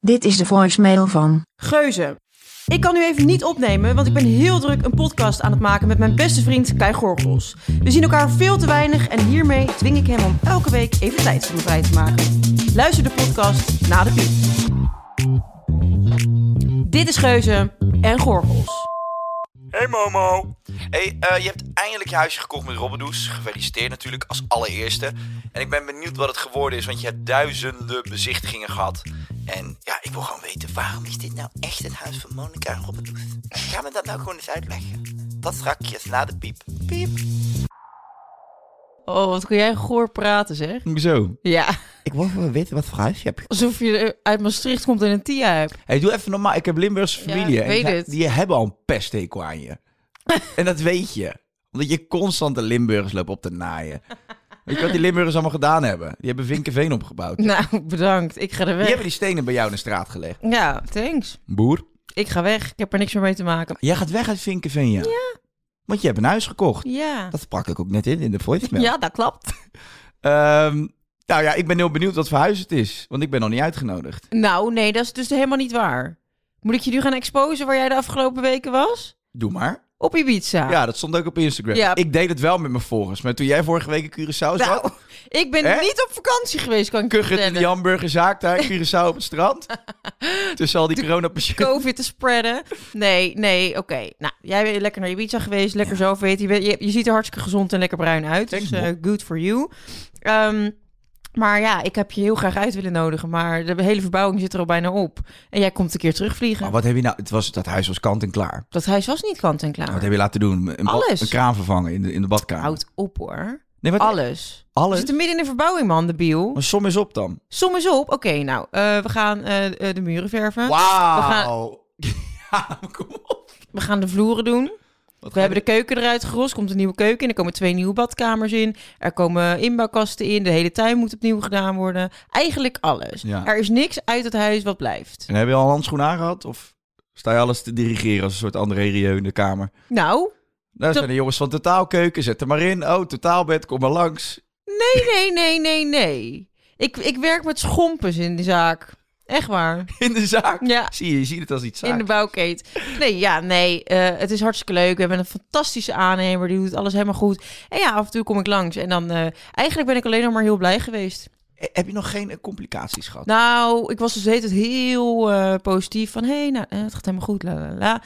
Dit is de voicemail van. Geuze. Ik kan nu even niet opnemen, want ik ben heel druk een podcast aan het maken met mijn beste vriend Kai Gorgels. We zien elkaar veel te weinig en hiermee dwing ik hem om elke week even tijd voor me vrij te maken. Luister de podcast na de piep. Dit is Geuze en Gorgels. Hey Momo. Hey, eh, je hebt eindelijk je huisje gekocht met Robbedoes. Gefeliciteerd natuurlijk als allereerste. En ik ben benieuwd wat het geworden is, want je hebt duizenden bezichtigingen gehad. En ja, ik wil gewoon weten, waarom is dit nou echt het huis van Monica en Robbedoes? Ga me dat nou gewoon eens uitleggen. Dat strakjes na de piep. Piep. Oh, wat kun jij goor praten zeg. Zo. Ja, Ik wil even weten wat voor huisje heb je. alsof je uit Maastricht komt en een TIA hebt. Hey, doe even normaal. Ik heb Limburgse Ja, familie. ik en weet die- het. Die hebben al een pesthekel aan je. en dat weet je. Omdat je constant de Limburgers loopt op te naaien. Weet je wat die Limburgers allemaal gedaan hebben? Die hebben Vinkenveen opgebouwd. Nou, bedankt. Ik ga er Die weg. hebben die stenen bij jou in de straat gelegd. Ja, thanks. Boer. Ik ga weg. Ik heb er niks meer mee te maken. Jij gaat weg uit Vinkenveen, ja? Ja. Want je hebt een huis gekocht. Ja. Dat sprak ik ook net in, in de voicemail. Ja, dat klopt. Ehm, nou ja, ik ben heel benieuwd wat voor huis het is. Want ik ben nog niet uitgenodigd. Nou, nee, dat is dus helemaal niet waar. Moet ik je nu gaan exposen waar jij de afgelopen weken was? Doe maar. Op Ibiza. Ja, dat stond ook op Instagram. Ja. Ik deed het wel met mijn volgers. Maar toen jij vorige week in Curaçao zat... Nou, ik ben Hè? niet op vakantie geweest, kan ik je kuggend in vertellen. die hamburgerzaak daar in Curaçao op het strand. Tussen al die coronapatiënten. COVID te spreaden. Nee, nee, oké. Nou, jij bent lekker naar Ibiza geweest, lekker zo weet je, bent- je. Je ziet er hartstikke gezond en lekker bruin uit. Thanks, dus eh, Bob. good for you. Ehm, maar ja, ik heb je heel graag uit willen nodigen. Maar de hele verbouwing zit er al bijna op. En jij komt een keer terugvliegen. Maar wat heb je nou? Het was, dat huis was kant en klaar. Dat huis was niet kant en klaar. Wat heb je laten doen? Een, bad- Alles. een kraan vervangen in de, in de badkamer. Houd op hoor. Nee, wat, Alles. We Alles? zitten midden in de verbouwing, man, de biel. Maar som is op dan. Som eens op. Oké, nou, eh, we gaan eh, eh, de muren verven. Wauw. Ja, kom op. We gaan de vloeren doen. Wat We hebben de keuken eruit gerost. Komt een nieuwe keuken in. Er komen twee nieuwe badkamers in. Er komen inbouwkasten in. De hele tuin moet opnieuw gedaan worden. Eigenlijk alles. Ja. Er is niks uit het huis wat blijft. En heb je al een handschoen aangehad? Of sta je alles te dirigeren als een soort André Rieu in de kamer? Nou, Daar Tot- zijn de jongens van Totaalkeuken. Zet er maar in. Oh, Totaalbed, kom maar langs. nee, nee, nee, nee, nee. Ik, ik werk met schompens in de zaak. Echt waar. In de zaak. Ja. Zie je, je ziet het als iets zaak. In de bouwkeet. Nee, ja, nee. eh, het is hartstikke leuk. We hebben een fantastische aannemer. Die doet alles helemaal goed. En ja, af en toe kom ik langs. En dan, eh, eigenlijk ben ik alleen nog maar heel blij geweest. Eh, Heb je nog geen eh, complicaties gehad? Nou, ik was dus de hele tijd heel eh, positief. Van, hé, hey, nou, eh, het gaat helemaal goed. La, la, la.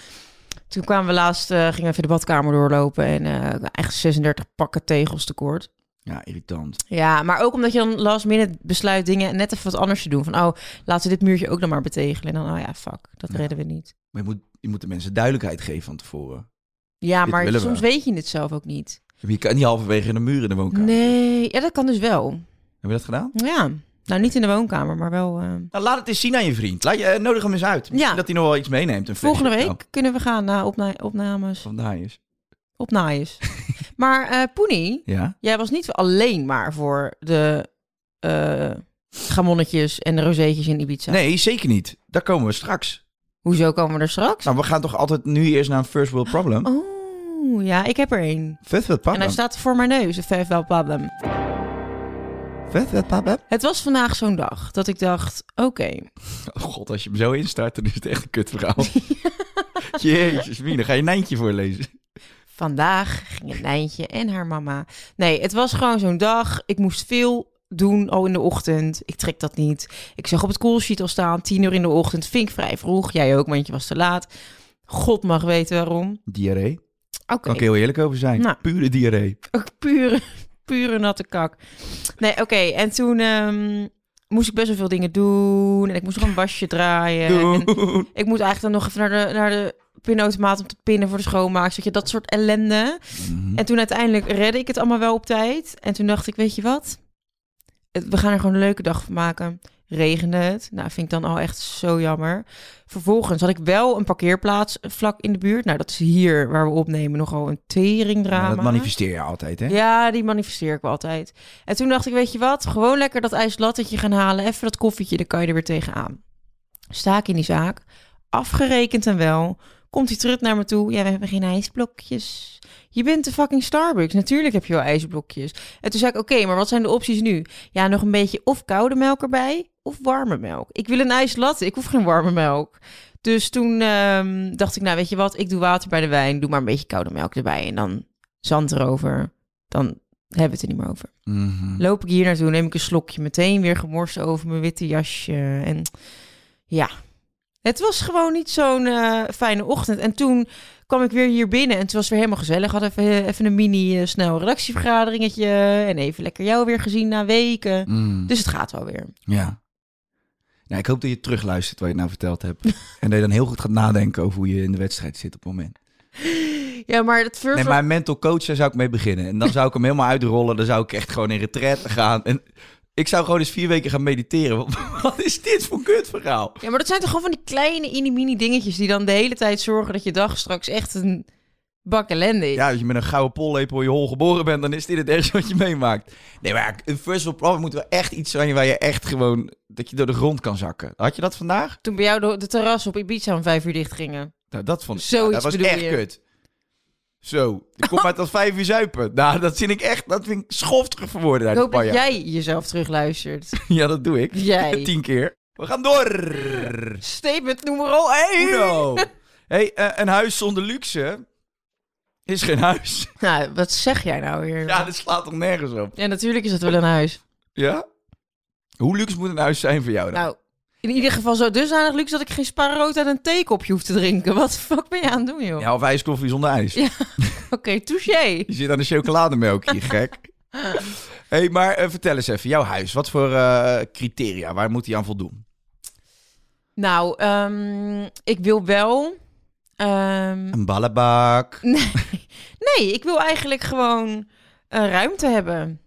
Toen kwamen we laatst, eh, gingen we even de badkamer doorlopen. En eh, echt 36 pakken tegels tekort. Ja, irritant. Ja, maar ook omdat je dan last minute besluit dingen net even wat anders te doen. Van, oh, laten we dit muurtje ook dan maar betegelen. En dan, oh ja, fuck, dat Ja. redden we niet. Maar je moet, je moet de mensen duidelijkheid geven van tevoren. Ja, Dit maar willen we. soms weet je het zelf ook niet. Je kan niet halverwege in de muur in de woonkamer. Nee, ja, dat kan dus wel. Heb je dat gedaan? Ja, nou niet in de woonkamer, maar wel. eh. Nou, laat het eens zien aan je vriend. Laat je, eh, nodig hem eens uit. Misschien Ja. dat hij nog wel iets meeneemt. Een Oh, flesje Volgende of week zo. kunnen we gaan naar opna opnames. Of daar is. Opnaaiers. maar eh Poenie, Ja. jij was niet alleen maar voor de eh gamonnetjes en de rozeetjes in Ibiza. Nee, zeker niet. Daar komen we straks. Hoezo komen we er straks? Nou, we gaan toch altijd nu eerst naar een first world problem? Oh, ja, ik heb er één. First world En hij problem. staat voor mijn neus, de vijf wel problem. First world problem. Het was vandaag zo'n dag dat ik dacht, oké, Oh god, als je hem zo instart, dan is het echt een kutverhaal. Jezus, Mien, dan ga je een eindje voorlezen. Vandaag gingen Nijntje en haar mama. Nee, het was gewoon zo'n dag. Ik moest veel doen al in de ochtend. Ik trek dat niet. Ik zag op het callsheet al staan, 10 uur in de ochtend. Vind ik vrij vroeg. Jij ook, want je was te laat. God mag weten waarom. Diarree. Oké. Kan ik heel eerlijk over zijn. Nou. Pure diarree. Ook pure, pure natte kak. Nee, oké. En toen ehm, moest ik best wel veel dingen doen. En ik moest nog een wasje draaien. En Doen. ik moet eigenlijk dan nog even naar de, naar de pinautomaat om te pinnen voor de schoonmaak. Zodat je dat soort ellende. Mhm. En toen uiteindelijk redde ik het allemaal wel op tijd. En toen dacht ik, weet je wat? Het- We gaan er gewoon een leuke dag van maken. Regende het. Nou, vind ik dan al echt zo jammer. Vervolgens had ik wel een parkeerplaats vlak in de buurt. Nou, dat is hier waar we opnemen nogal een teringdrama. Ja, Nou, dat manifesteer je altijd, hè? Ja, die manifesteer ik wel altijd. En toen dacht ik, weet je wat? Gewoon lekker dat ijslattetje gaan halen. Even dat koffietje, dan kan je er weer tegenaan. Sta ik in die zaak. Afgerekend en wel. Komt hij terug naar me toe. Ja, we hebben geen ijsblokjes. Je bent de fucking Starbucks. Natuurlijk heb je wel ijsblokjes. En toen zei ik, oké, maar wat zijn de opties nu? Ja, nog een beetje of koude melk erbij, of warme melk. Ik wil een ijslatte, ik hoef geen warme melk. Dus toen ehm, dacht ik, nou weet je wat, ik doe water bij de wijn. Doe maar een beetje koude melk erbij en dan zand erover. Dan hebben we het er niet meer over. Mhm. Loop ik hier naartoe, neem ik een slokje. Meteen weer gemorst over mijn witte jasje. En ja, het was gewoon niet zo'n eh, fijne ochtend. En toen kwam ik weer hier binnen en het was weer helemaal gezellig. Had even, even een mini eh, snel redactievergaderingetje. En even lekker jou weer gezien na weken. Mm. Dus het gaat wel weer. Ja. Nou, ik hoop dat je terugluistert wat je nou verteld hebt. en dat je dan heel goed gaat nadenken over hoe je in de wedstrijd zit op het moment. Ja, maar het first Nee, maar een mental coach, daar zou ik mee beginnen. En dan zou ik hem helemaal uitrollen. Dan zou ik echt gewoon in retraite gaan. En ik zou gewoon eens vier weken gaan mediteren. Want Wat is dit voor kutverhaal? Ja, maar dat zijn toch gewoon van die kleine inimini dingetjes... die dan de hele tijd zorgen dat je dag straks echt een bak ellende is. Ja, als je met een gouden pollepel in je hol geboren bent, dan is dit het ergste wat je meemaakt. Nee, maar een first world problem moet wel echt iets zijn waar je echt gewoon... dat je door de grond kan zakken. Had je dat vandaag? Toen bij jou de, de terras op Ibiza om vijf uur dicht gingen. Nou, dat vond ik... Zoiets dat was bedoel echt je? kut. Zo, ik kom uit dat vijf uur zuipen. Nou, dat vind ik echt... dat vind ik schoftig voor woorden uit Ik hoop dat Spanje. jij jezelf terugluistert. Ja, dat doe ik. Jij. Tien keer. We gaan door. Statement nummer 1. Uno. hey, eh, een huis zonder luxe is geen huis. Nou, wat zeg jij nou weer? Ja, Ja, dat slaat toch nergens op. natuurlijk is het wel een huis. Ja? Hoe luxe moet een huis zijn voor jou dan? Nou, in ieder geval zo dusdanig luxe dat ik geen spaarrood en een theekopje hoef te drinken. Wat de fuck ben je aan het doen, joh? Ja, of ijskoffie zonder ijs. Ja. Oké, touché. Je zit aan de chocolademelk hier, gek. hey, maar eh, vertel eens even, jouw huis. Wat voor eh, criteria? Waar moet hij aan voldoen? Nou, ehm, ik wil wel... ehm, Een ballenbak. nee. nee, ik wil eigenlijk gewoon eh, ruimte hebben.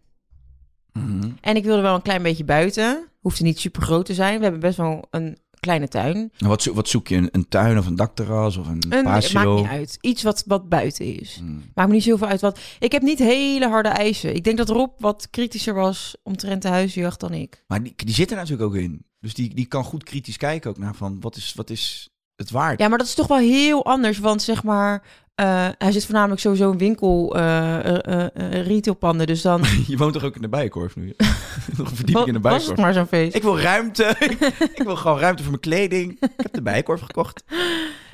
Mhm. En ik wilde wel een klein beetje buiten. Hoeft er niet super groot te zijn. We hebben best wel een kleine tuin. En Wat, zo- wat zoek je? Een, een tuin of een dakterras of een, Een, het maakt patio? niet uit. Iets wat, wat buiten is. Mhm. Maakt me niet zoveel uit. Wat... Ik heb niet hele harde eisen. Ik denk dat Rob wat kritischer was omtrent de huisjacht dan ik. Maar die, die zit er natuurlijk ook in. Dus die, die kan goed kritisch kijken ook naar van wat is, wat is het waard? Ja, maar dat is toch wel heel anders. Want zeg maar, eh, hij zit voornamelijk sowieso in winkel, eh, eh, eh, eh, retailpanden. Dus dan Je woont toch ook in de bijenkorf nu? Nog een verdieping in de Wat was bijenkorf. het maar zo'n feest. Ik wil ruimte. ik, ik wil gewoon ruimte voor mijn kleding. Ik heb de bijenkorf gekocht.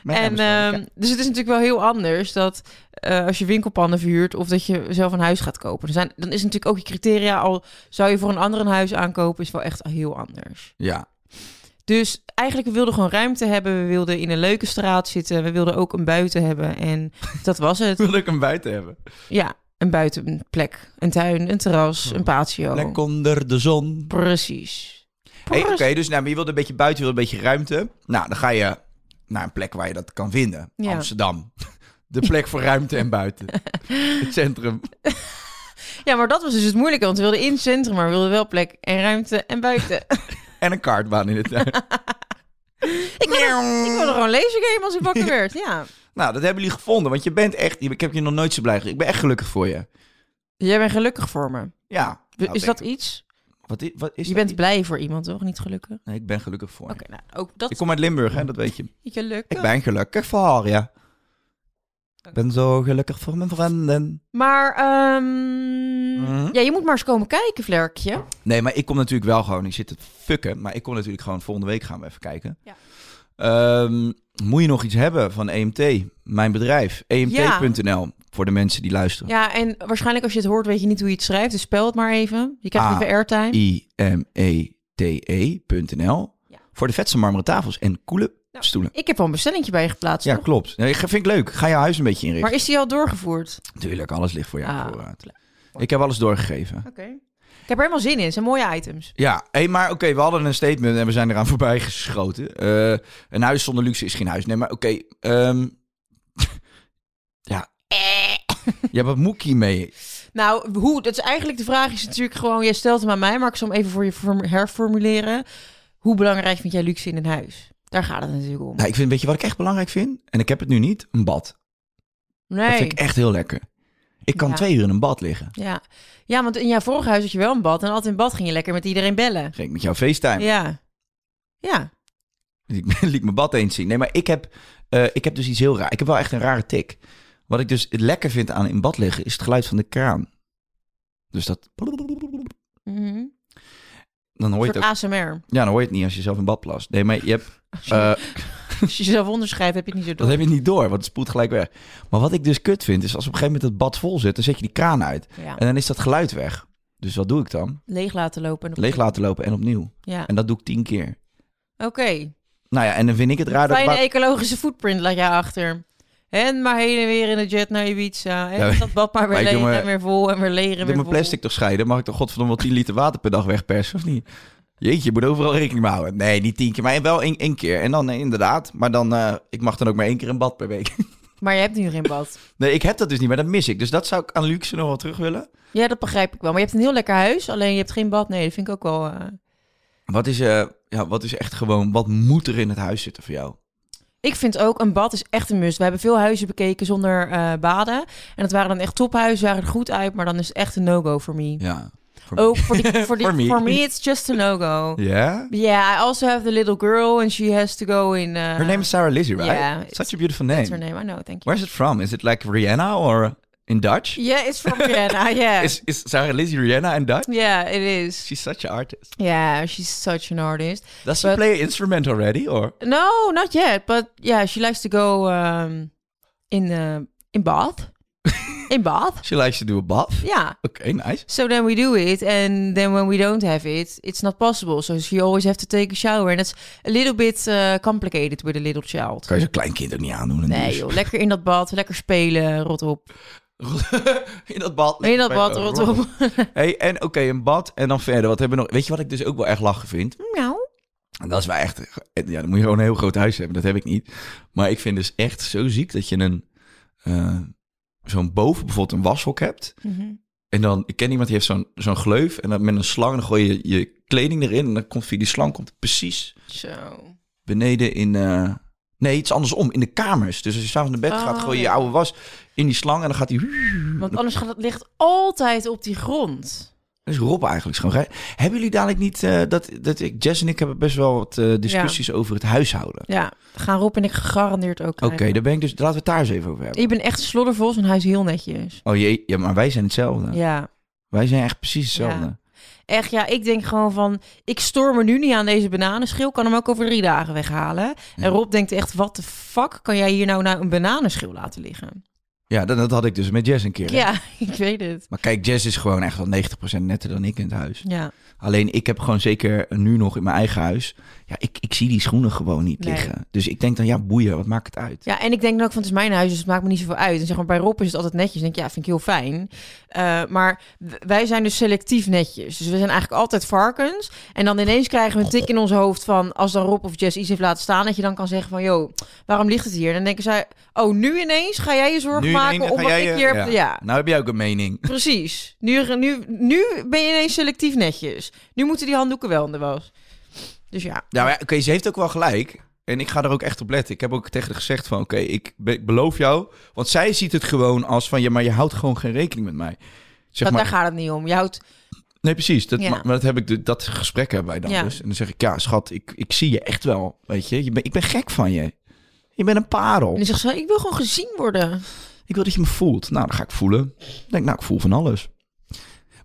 Mijn naam En, is Monica. ehm, dus het is natuurlijk wel heel anders dat eh, als je winkelpannen verhuurt of dat je zelf een huis gaat kopen. Er zijn, dan is natuurlijk ook je criteria al, zou je voor een ander een huis aankopen, is wel echt heel anders. ja. Dus eigenlijk, we wilden gewoon ruimte hebben. We wilden in een leuke straat zitten. We wilden ook een buiten hebben. En dat was het. Wil ik hem buiten hebben? Ja, een buitenplek. Een tuin, een terras, een patio. Mm. Lekker onder de zon. Precies. Hey, Oké, Precies. dus nou, maar je wilt een beetje buiten, je wilt een beetje ruimte. Nou, dan ga je naar een plek waar je dat kan vinden. Ja. Amsterdam. De plek voor ruimte en buiten. Het centrum. Ja, maar dat was dus het moeilijke. Want we wilden in het centrum, maar we wilden wel plek en ruimte en buiten. En een kaartbaan in de tuin. ik, wilde, ik wilde gewoon lasergame als ik wakker werd. Ja. Nou, dat hebben jullie gevonden, want je bent echt... Ik heb je nog nooit zo blij gezien. Ik ben echt gelukkig voor je. Jij bent gelukkig voor me. Ja. Is Nou, dat denk ik. iets? Wat is, wat is Je dat? bent blij voor iemand, toch? Niet gelukkig? Nee, ik ben gelukkig voor je. Oké, nou, ook dat Ik kom uit Limburg, hè, dat weet je. gelukkig. Ik ben gelukkig voor haar, ja. Ik ben zo gelukkig voor mijn vrienden. Maar, ehm, Mhm. ja, je moet maar eens komen kijken, Vlerkje. Nee, maar ik kom natuurlijk wel gewoon... Ik zit te fucken, maar ik kom natuurlijk gewoon... Volgende week gaan we even kijken. Ja. Ehm, moet je nog iets hebben van EMT? Mijn bedrijf, E emt.nl, voor de mensen die luisteren. Ja, en waarschijnlijk als je het hoort weet je niet hoe je het schrijft. Dus spel het maar even. Je krijgt Ah. even airtime. E I-M-E-T-E.nl, Ja. voor de vetste marmeren tafels en coole Nou, stoelen. Ik heb al een bestellingje bij je geplaatst. Ja, toch? klopt. Ja, ik- vind ik leuk. Ga je huis een beetje inrichten. Maar is die al doorgevoerd? Tuurlijk, alles ligt voor jou Ah, voorraad. Ik heb alles doorgegeven. Oké. Ik heb er helemaal zin in. Het zijn mooie items. Ja, hey, maar oké, we hadden een statement en we zijn eraan voorbij geschoten. Eh, een huis zonder luxe is geen huis. Nee, maar oké. ehm, ja. Eh. ja, wat moet ik hiermee? Nou, hoe, dat is eigenlijk de vraag is natuurlijk gewoon... Jij stelt hem aan mij, maar ik zal hem even voor je form- herformuleren. Hoe belangrijk vind jij luxe in een huis? Daar gaat het natuurlijk om. Nou, ik vind, weet je wat ik echt belangrijk vind? En ik heb het nu niet, een bad. Dat Nee. vind ik echt heel lekker. Ik kan Ja. twee uur in een bad liggen. Ja. ja, want in jouw vorige huis had je wel een bad. En altijd in bad ging je lekker met iedereen bellen. Ging ik met jou FaceTime. Ja. Ja. Ik liet mijn bad eens zien. Nee, maar ik heb, eh, ik heb dus iets heel raar. Ik heb wel echt een rare tik. Wat ik dus lekker vind aan in bad liggen, is het geluid van de kraan. Dus dat... Mhm. Dan hoor Een je het soort ook ASMR. Ja, dan hoor je het niet als je zelf in bad plast. Nee, maar je hebt, eh, Als je jezelf onderschrijft, heb je het niet zo dat door. heb je niet door, want het spoelt gelijk weg. Maar wat ik dus kut vind, is als op een gegeven moment het bad vol zit, dan zet je die kraan uit. Ja. En dan is dat geluid weg. Dus wat doe ik dan? Leeg laten lopen. en op- Leeg laten lopen en opnieuw. Ja. En dat doe ik tien keer. Oké. Nou ja, en dan vind ik het raar dat... Fijne waar- ecologische footprint laat jij achter. En maar heen en weer in de jet naar Ibiza. En Ja, dat bad maar weer maar ik leeg doe me- en weer vol en weer leeg en Ik weer doe vol. mijn plastic toch scheiden? Mag ik toch godverdomme wel 10 liter water per dag wegpersen, of niet? Jeetje, je moet overal rekening mee houden. Nee, niet tien keer, maar wel één, één keer. En dan, nee, inderdaad. Maar dan, eh, ik mag dan ook maar één keer een bad per week. Maar je hebt nu geen bad. Nee, ik heb dat dus niet, maar dat mis ik. Dus dat zou ik aan luxe nog wel terug willen. Ja, dat begrijp ik wel. Maar je hebt een heel lekker huis, alleen je hebt geen bad. Nee, dat vind ik ook wel... eh. Wat is, eh, ja, wat is echt gewoon, wat moet er in het huis zitten voor jou? Ik vind ook, een bad is echt een must. We hebben veel huizen bekeken zonder eh, baden. En dat waren dan echt tophuizen, zagen er goed uit. Maar dan is het echt een no-go voor me. Ja. Voor Ook voor die... Voor die For me. for me, it's just a no-go. Ja? Yeah, I also have the little girl and she has to go in... eh, Her name is Sarah Lizzie, right? yeah, Such a beautiful That's her name. name, I know, thank you. Where's it from? Is it like Rihanna or in Dutch? Yeah, it's from Vienna, yeah. Is, is Sarah Lizzie Rihanna in Dutch? Yeah, it is. She's such an artist. Yeah, she's such an artist. Does she But- play an instrument already? Or No, not yet, but yeah, she likes to go um, in uh, in Bath. in Bath? she likes to do a bath? Yeah. Okay, nice. So then we do it, and then when we don't have it, it's not possible. So she always have to take a shower, and it's a little bit uh, complicated with a little child. Kan je zo'n klein kind ook niet aandoen? een Nee douche? joh, lekker in dat bad, lekker spelen, rot op. in dat bad. In dat bad, rot op. Hey, en oké, een bad en dan verder. Wat hebben we nog? Weet je wat ik dus ook wel echt lachen vind? nou, En dat is wel echt... eh, Ja, dan moet je gewoon een heel groot huis hebben. Dat heb ik niet. Maar ik vind dus echt zo ziek dat je een... eh, zo'n boven bijvoorbeeld een washok hebt. Mhm. En dan... Ik ken iemand die heeft zo'n zo'n gleuf. En dan met een slang en dan gooi je je kleding erin. En dan komt via die slang komt het precies zo. beneden in... eh, nee, iets andersom. In de kamers. Dus als je s'avonds naar bed gaat, Oh, gooi je je ja. oude was in die slang. En dan gaat die... Want anders gaat het licht altijd op die grond. Dat is Rob eigenlijk schoon. Hebben jullie dadelijk niet... eh, dat, dat ik, Jess en ik hebben best wel wat eh, discussies over het huishouden. Ja, gaan Rob en ik gegarandeerd ook. Oké, krijgen. daar ben ik dus... Laten we het daar eens even over hebben. Ik ben echt sloddervol, en hij is heel netjes. Oh jee, ja, maar wij zijn hetzelfde. Ja, Wij zijn echt precies hetzelfde. Ja. echt. Ja, ik denk gewoon van, ik stoor me nu niet aan deze bananenschil. Kan hem ook over drie dagen weghalen. En Rob denkt echt, wat de fuck kan jij hier nou nou een bananenschil laten liggen? Ja, dat, dat had ik dus met Jess een keer. hè. Ja, ik weet het. Maar kijk, Jess is gewoon echt wel 90% netter dan ik in het huis. Ja, Alleen ik heb gewoon zeker nu nog in mijn eigen huis. Ja, ik, ik zie die schoenen gewoon niet Nee. liggen. Dus ik denk dan, ja, boeien, wat maakt het uit? ja en ik denk dan ook van, het is mijn huis, dus het maakt me niet zoveel uit. En zeg maar, bij Rob is het altijd netjes. Ik denk, ja, vind ik heel fijn. Eh, maar w- wij zijn dus selectief netjes. Dus we zijn eigenlijk altijd varkens. En dan ineens krijgen we een tik in ons hoofd van... als dan Rob of Jess iets heeft laten staan... dat je dan kan zeggen van... joh, waarom ligt het hier? En dan denken zij... oh, nu ineens ga jij je zorgen Nu maken... ineens om ga wat jij ik je- hier ja. heb... Ja, Nou heb jij ook een mening. precies. Nu, nu, nu ben je ineens selectief netjes. Nu moeten die handdoeken wel in de was. Dus ja. Ja, maar Nou ja, oké, ze heeft ook wel gelijk. En ik ga er ook echt op letten. Ik heb ook tegen haar gezegd van, oké, ik, be- ik beloof jou. Want zij ziet het gewoon als van, ja, maar je houdt gewoon geen rekening met mij. Zeg dat, maar, Daar gaat het niet om. Je houdt... Nee, precies. Dat, Ja. maar, maar dat, heb ik, de- dat gesprek hebben wij dan Ja. dus. En dan zeg ik, ja, schat, ik, ik zie je echt wel. Weet je, je ben, ik ben gek van je. Je bent een En parel. dan zegt ze... ik wil gewoon gezien worden. Ik wil dat je me voelt. Nou, dan ga ik voelen. Ik denk, nou, ik voel van alles.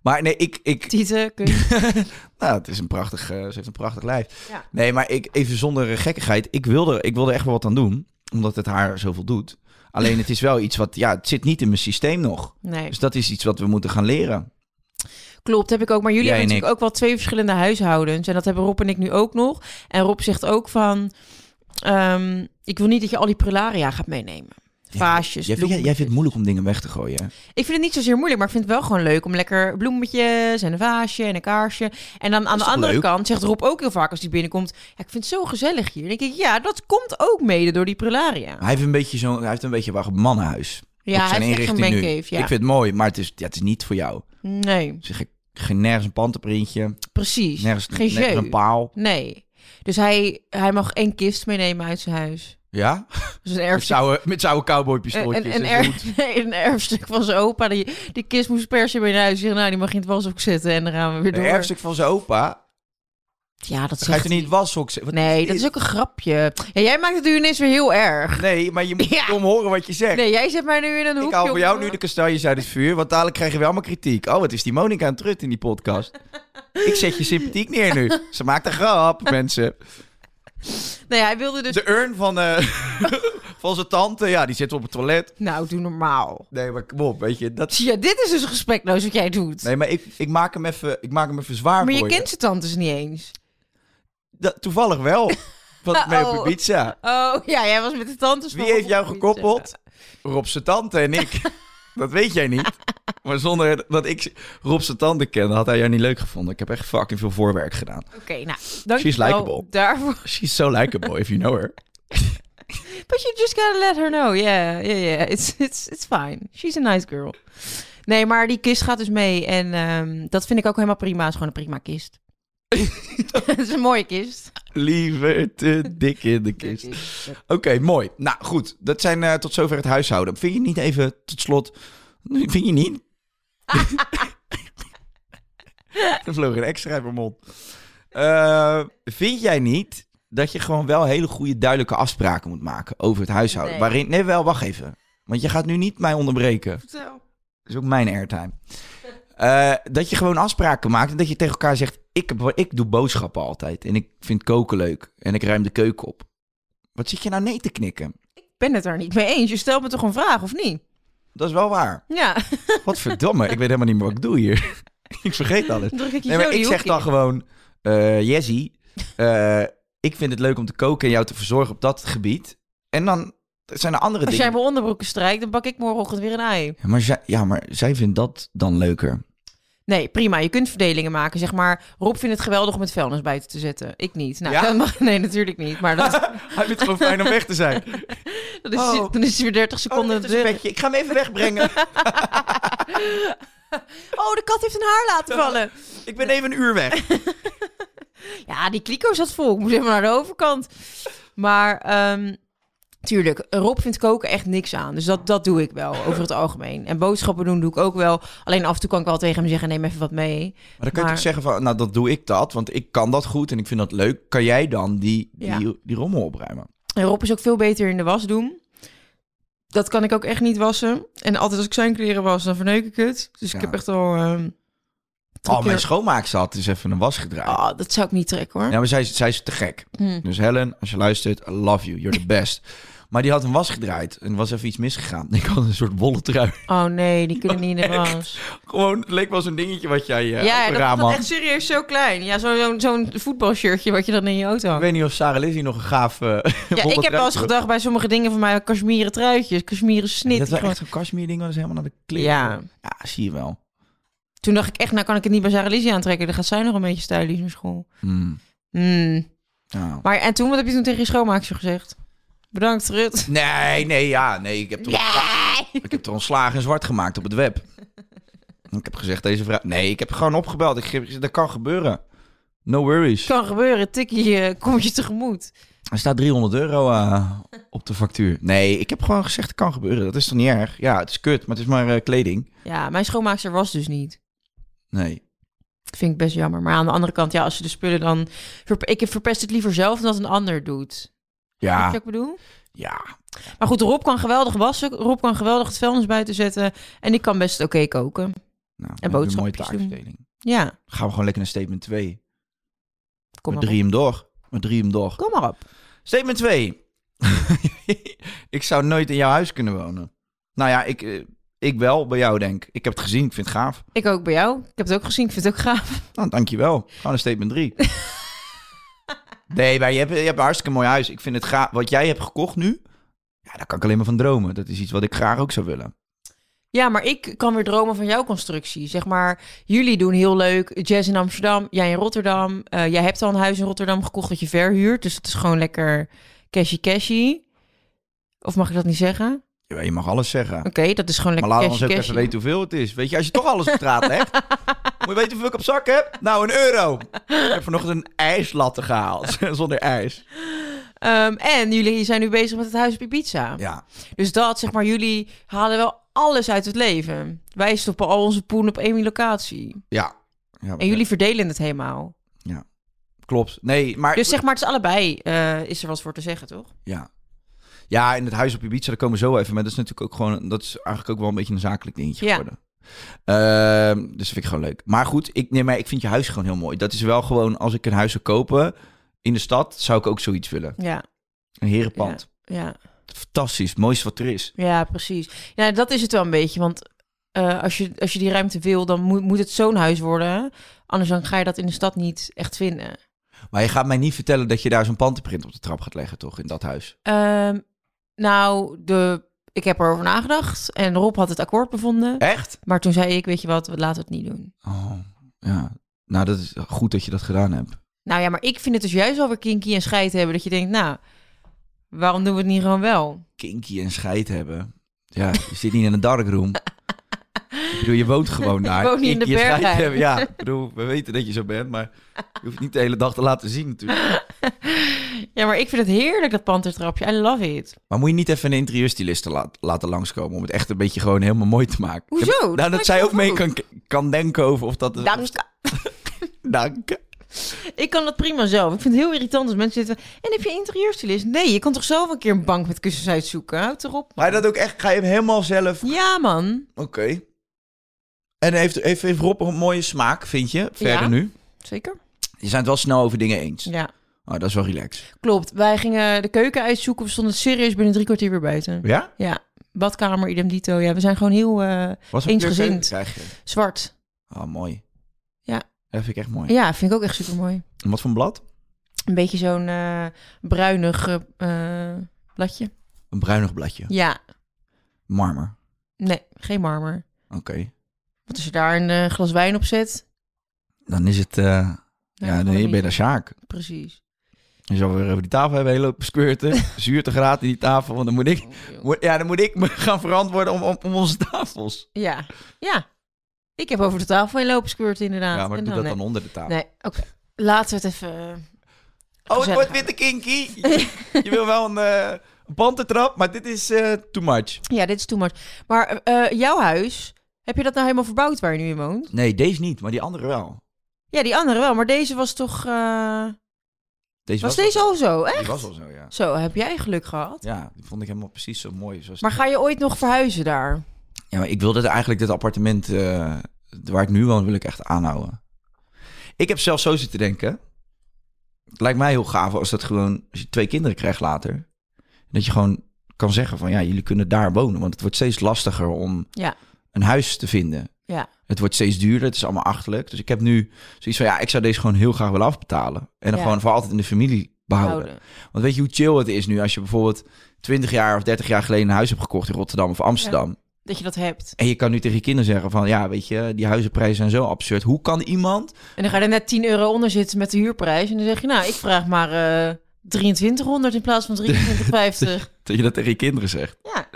Maar nee, ik... ik Tieten, kun je... nou, het is een prachtig... eh, ze heeft een prachtig lijf. Ja. Nee, maar ik, even zonder eh, gekkigheid. Ik wilde, ik wilde echt wel wat aan doen. Omdat het haar zoveel doet. Alleen het is wel iets wat... Ja, het zit niet in mijn systeem nog. Nee, Dus dat is iets wat we moeten gaan leren. klopt, heb ik ook. Maar jullie Jij hebben en natuurlijk ook wel twee verschillende huishoudens. En dat hebben Rob en ik nu ook nog. En Rob zegt ook van... ehm, ik wil niet dat je al die prularia gaat meenemen. Vaasjes, Jij, vindt- jij vindt het bloemetjes. moeilijk om dingen weg te gooien. hè? Ik vind het niet zozeer moeilijk, maar ik vind het wel gewoon leuk om lekker bloemetjes en een vaasje en een kaarsje. En dan aan de toch andere leuk? kant zegt Rob ook heel vaak als hij binnenkomt: ja, Ik vind het zo gezellig hier. Dan denk ik, ja, dat komt ook mede door die prularia. Maar Hij heeft een beetje zo'n... Hij heeft een beetje waar mannenhuis. Ja, Op zijn hij heeft echt zo'n inrichting nu. mancave, ja. Ik vind het mooi, maar het is, ja, het is niet voor jou. Nee, Zeg ik, geen nergens een pantenprintje, precies. nergens, Geen nergens jeu. een paal. Nee. Dus hij, hij mag één kist meenemen uit zijn huis. Ja? Dus een Met erfstuk. zouden met zouden Een, cowboypistooltjes. een, en een, zo. erf, nee, een erfstuk van zijn opa. Die, die kist moest per se mee naar huis. Ik zeg, nou, die mag je in het washok zetten. En dan gaan we weer door. Een erfstuk van zijn opa. Ja, dat Ga je zegt er niet washok zetten? Wat Nee, dat is ook een grapje. Ja, jij maakt het nu ineens weer heel erg. Nee, maar je moet Ja. om horen wat je zegt. Nee, jij zet mij nu in een hoekje. ik haal voor jou om- nu de kastanjes uit het vuur, want dadelijk krijgen we allemaal kritiek. Oh, wat is die Monika aan het trut in die podcast. ik zet je sympathiek neer nu. Ze maakt een grap, mensen. Nee, hij wilde dus... De urn van, eh, van zijn tante, ja, die zit op het toilet. Nou, doe normaal. Nee, maar kom op, weet je. Dat... Ja, dit is dus een gesprekloos wat jij doet. Nee, maar ik, ik, maak hem even, ik maak hem even zwaar maar je voor kent zijn tantes niet eens. Dat, toevallig wel. Van mee Oh. op Ibiza. Oh, ja, jij was met de tantes Wie van- heeft jou gekoppeld? Rob zijn tante en ik. Dat weet jij niet. Maar zonder dat ik Rob zijn tante kende, had hij jou niet leuk gevonden. Ik heb echt fucking veel voorwerk gedaan. Oké, nou, dankjewel likable. daarvoor. She's so likeable, if you know her. But you just gotta let her know. Yeah, yeah, yeah. It's, it's, it's fine. She's a nice girl. Nee, maar die kist gaat dus mee. En ehm, dat vind ik ook helemaal prima. Het is gewoon een prima kist. Het is een mooie kist. Liever te dik in de kist. Oké, mooi. Nou goed, dat zijn eh, tot zover het huishouden. Vind je niet even, tot slot, vind je niet? er vloog een extra uit mijn mond. Eh, vind jij niet dat je gewoon wel hele goede duidelijke afspraken moet maken over het huishouden? Nee. Waarin, nee wel, wacht even. Want je gaat nu niet mij onderbreken. Zo. Dat is ook mijn airtime. Eh, dat je gewoon afspraken maakt en dat je tegen elkaar zegt: ik, heb, ik doe boodschappen altijd. En ik vind koken leuk. En ik ruim de keuken op. Wat zit je nou nee te knikken? Ik ben het daar niet mee eens. Je stelt me toch een vraag, of niet? Dat is wel waar. Ja, Wat verdomme, ik weet helemaal niet meer wat ik doe hier. ik vergeet alles. dan druk ik je Nee, zo maar die ik zeg hoek in. dan gewoon: eh Jesse, eh, ik vind het leuk om te koken en jou te verzorgen op dat gebied. En dan zijn er andere Als jij dingen. mijn onderbroeken strijkt, dan bak ik morgenochtend weer een ei. Ja, Maar zij, ja, maar zij vindt dat dan leuker. Nee, prima. Je kunt verdelingen maken. Zeg maar, Rob vindt het geweldig om het vuilnis buiten te zetten. Ik niet. Nou, Ja? dat mag, nee, natuurlijk niet. Maar dat, Hij vindt het gewoon fijn om weg te zijn. dat is, Oh. dan is hij weer 30 seconden aan het deur. Ik ga hem even wegbrengen. Oh, de kat heeft een haar laten vallen. Ik ben even een uur weg. Ja, die kliko zat vol. Ik moest even naar de overkant. Maar ehm, tuurlijk, Rob vindt koken echt niks aan. Dus dat, dat doe ik wel, over het algemeen. En boodschappen doen doe ik ook wel. Alleen af en toe kan ik wel tegen hem zeggen, neem even wat mee. Maar dan kun je Maar- toch zeggen van, nou dat doe ik dat, want ik kan dat goed en ik vind dat leuk. Kan jij dan die, die, Ja. die rommel opruimen? En Rob is ook veel beter in de was doen. Dat kan ik ook echt niet wassen. En altijd als ik zijn kleren was, dan verneuk ik het. Dus ik Ja. heb echt al... ehm drie Oh, mijn keer- schoonmaakster had dus even een was gedraaid. Ah, dat zou ik niet trekken, hoor. Ja, maar zij, is- zij is te gek. Hm. Dus Helen, als je luistert, I love you, you're the best. maar die had een was gedraaid en er was even iets misgegaan. Ik had een soort wollen trui. Oh nee, die kunnen niet in de was. Gewoon, het leek wel zo'n dingetje wat jij eh, ja, op dat een raam dat had. echt serieus zo klein. Ja, zo- zo'n zo'n voetbalshirtje wat je dan in je auto Ik hangt. weet niet of Sarah Lizzie nog een gaaf eh Ja, ik heb wel eens gedacht bij sommige dingen van mij, kashmieren truitjes, kashmieren snit. Dat was Gewoon- echt een kashmir ding, dat is helemaal naar de kleren. Ja, ja, zie je wel. toen dacht ik echt, nou kan ik het niet bij Sarah Lizzie aantrekken. Dan gaat zij nog een beetje stylish naar school. Hmm. Hmm. Ja. Maar en toen, wat heb je toen tegen je schoonmaakster gezegd? Bedankt, Rut. Nee, nee, ja, nee. Ik heb toch, ik heb toch ontslagen en zwart gemaakt op het web. Ik heb gezegd, deze vraag... Nee, ik heb gewoon opgebeld. Ik, geef- dat kan gebeuren. No worries. Kan gebeuren, tikkie, eh, komt je tegemoet. Er staat 300 euro eh, op de factuur. Nee, ik heb gewoon gezegd, het kan gebeuren. Dat is toch niet erg? Ja, het is kut, maar het is maar eh, kleding. Ja, mijn schoonmaakster was dus niet. Nee. Dat vind ik best jammer. Maar aan de andere kant, ja, als ze de spullen dan... verp- Ik verpest het liever zelf dan dat een ander doet. Weet je Ja, wat ik bedoel? ja. Nou, Maar goed, Rob kan geweldig wassen. Rob kan geweldig het vuilnis buiten zetten. En ik kan best oké koken. Nou, En we hebben een mooie boodschapjes doen. taakverdeling. Ja, Gaan we gewoon lekker naar statement 2. kom met maar, drie op. hem door. Met drie hem door. kom maar op. Statement 2. ik zou nooit in jouw huis kunnen wonen. Nou ja, ik, eh, ik wel bij jou denk. Ik heb het gezien, ik vind het gaaf. Ik ook bij jou. Ik heb het ook gezien, ik vind het ook gaaf. Nou, dankjewel. Gewoon naar statement 3. nee, maar je hebt, je hebt een hartstikke mooi huis. Ik vind het gaaf. Wat jij hebt gekocht nu, ja, daar kan ik alleen maar van dromen. Dat is iets wat ik graag ook zou willen. Ja, maar ik kan weer dromen van jouw constructie. Zeg maar, jullie doen heel leuk jazz in Amsterdam, jij in Rotterdam. Eh, jij hebt al een huis in Rotterdam gekocht dat je verhuurt. Dus het is gewoon lekker cashy cashy. Of mag ik dat niet zeggen? Oké, Ja, je mag alles zeggen. dat is gewoon Maar lekker laat ons cashy ook cashy. even weten hoeveel het is. Weet je, als je toch alles op straat legt, moet je weten hoeveel ik op zak heb? Nou, een euro. Ik heb vanochtend een ijslatte gehaald, zonder ijs. Ehm, en jullie zijn nu bezig met het huis op Ibiza. Ja, Dus dat, zeg maar, jullie halen wel alles uit het leven. Wij stoppen al onze poen op één locatie. ja. ja En jullie verdelen het helemaal. Klopt. Nee, maar... Dus zeg maar, het is allebei, eh, is er wat voor te zeggen, toch? Ja. Ja, in het huis op Ibiza, daar komen we zo even. Maar dat is natuurlijk ook gewoon... Dat is eigenlijk ook wel een beetje een zakelijk dingetje Ja. geworden. Ehm, dus dat vind ik gewoon leuk. Maar goed, ik, nee, maar ik vind je huis gewoon heel mooi. Dat is wel gewoon, als ik een huis zou kopen in de stad, zou ik ook zoiets willen. Ja, Een herenpand. ja, Fantastisch, het mooiste wat er is. ja, precies. Ja, dat is het wel een beetje, want eh, als, je, als je die ruimte wil, dan moet, moet het zo'n huis worden. Anders dan ga je dat in de stad niet echt vinden. Maar je gaat mij niet vertellen dat je daar zo'n pantenprint op de trap gaat leggen, toch? In dat huis. Ehm, nou, de, ik heb erover nagedacht en Rob had het akkoord bevonden. Echt? Maar toen zei ik, weet je wat, laten we het niet doen. Oh, ja. Nou, dat is goed dat je dat gedaan hebt. Nou ja, maar ik vind het dus juist wel weer kinky en scheid hebben. Dat je denkt, nou, waarom doen we het niet gewoon wel? Kinky en scheid hebben. Ja, je zit niet in een darkroom. Ik bedoel, je woont gewoon daar. woon niet in de Kinky en scheid bergen. hebben, Ja, ik bedoel, we weten dat je zo bent, maar je hoeft het niet de hele dag te laten zien natuurlijk. Ja, maar ik vind het heerlijk, dat pantertrapje. I love it. Maar moet je niet even een interieurstyliste laat, laten langskomen om het echt een beetje gewoon helemaal mooi te maken? Hoezo? Ik heb- Dat Nou, dat lijkt zij me ook mee goed. kan, kan denken over of dat... Dank. Dank. Ik kan dat prima zelf. Ik vind het heel irritant als mensen zitten... En heb je interieurstylist? Nee, je kan toch zelf een keer een bank met kussens uitzoeken? Houd erop. Maar dat ook echt, ga je hem helemaal zelf... Ja, man. Oké. En heeft, heeft, heeft Rob een mooie smaak, vind je? Verder Ja. nu? Zeker. Je zijn het wel snel over dingen eens. Ja, Oh, dat is wel relaxed. klopt. Wij gingen de keuken uitzoeken. We stonden serieus binnen drie kwartier weer buiten. Ja? Ja, badkamer, idem dito. Ja, we zijn gewoon heel eh, Was Eensgezind. Krijg je. zwart. Oh, mooi. Ja. Dat vind ik echt mooi. Ja, vind ik ook echt super mooi. En wat voor een blad? Een beetje zo'n eh, bruinig eh, eh, bladje. Een bruinig bladje. Ja, Marmer. nee, geen marmer. Oké. Want als je daar een eh, glas wijn op zet... Dan is het... eh, nou, ja, gewoon een nee, ben je daar beetje- Sjaak. Precies. Je zou weer over die tafel hebben heel lopen squirten. Zuurtegraad in die tafel. Want dan moet ik... Oh, moet- Ja, dan moet ik me gaan verantwoorden om, om, om onze tafels. Ja, ja. Ik heb over de tafel heen lopen squirt inderdaad. Ja, maar En ik doe dat nee. dan onder de tafel. Nee, oké. Laten we het even... eh, Oh, het Gezellig wordt weer te kinky. Je wil wel een, eh een pantentrap, maar dit is eh, too much. Ja, dit is too much. Maar eh, eh, jouw huis, heb je dat nou helemaal verbouwd waar je nu in woont? Nee, deze niet, maar die andere wel. Ja, die andere wel, maar deze was toch... eh, Deze was deze al zo, echt? Die was al zo, ja. Zo, heb jij geluk gehad? Ja, die vond ik helemaal precies zo mooi. Zoals... Maar ga je ooit nog verhuizen daar? Ja, maar ik wilde eigenlijk dit appartement eh, waar ik nu woon, wil ik echt aanhouden. Ik heb zelf zo zitten denken. Het lijkt mij heel gaaf als dat gewoon, als je twee kinderen krijgt later, dat je gewoon kan zeggen van ja, jullie kunnen daar wonen. Want het wordt steeds lastiger om Ja. een huis te vinden. Ja. Het wordt steeds duurder, het is allemaal achterlijk. Dus ik heb nu zoiets van ja, ik zou deze gewoon heel graag willen afbetalen. En dan Ja. gewoon voor altijd in de familie behouden. Houden. Want weet je hoe chill het is nu als je bijvoorbeeld 20 jaar of 30 jaar geleden een huis hebt gekocht in Rotterdam of Amsterdam. Dat je dat hebt. En je kan nu tegen je kinderen zeggen van ja, weet je, die huizenprijzen zijn zo absurd. Hoe kan iemand? En dan ga je er net 10 euro onder zitten met de huurprijs. En dan zeg je, nou, ik vraag maar eh 2300 in plaats van 2350. Dat je dat tegen je kinderen zegt. Ja.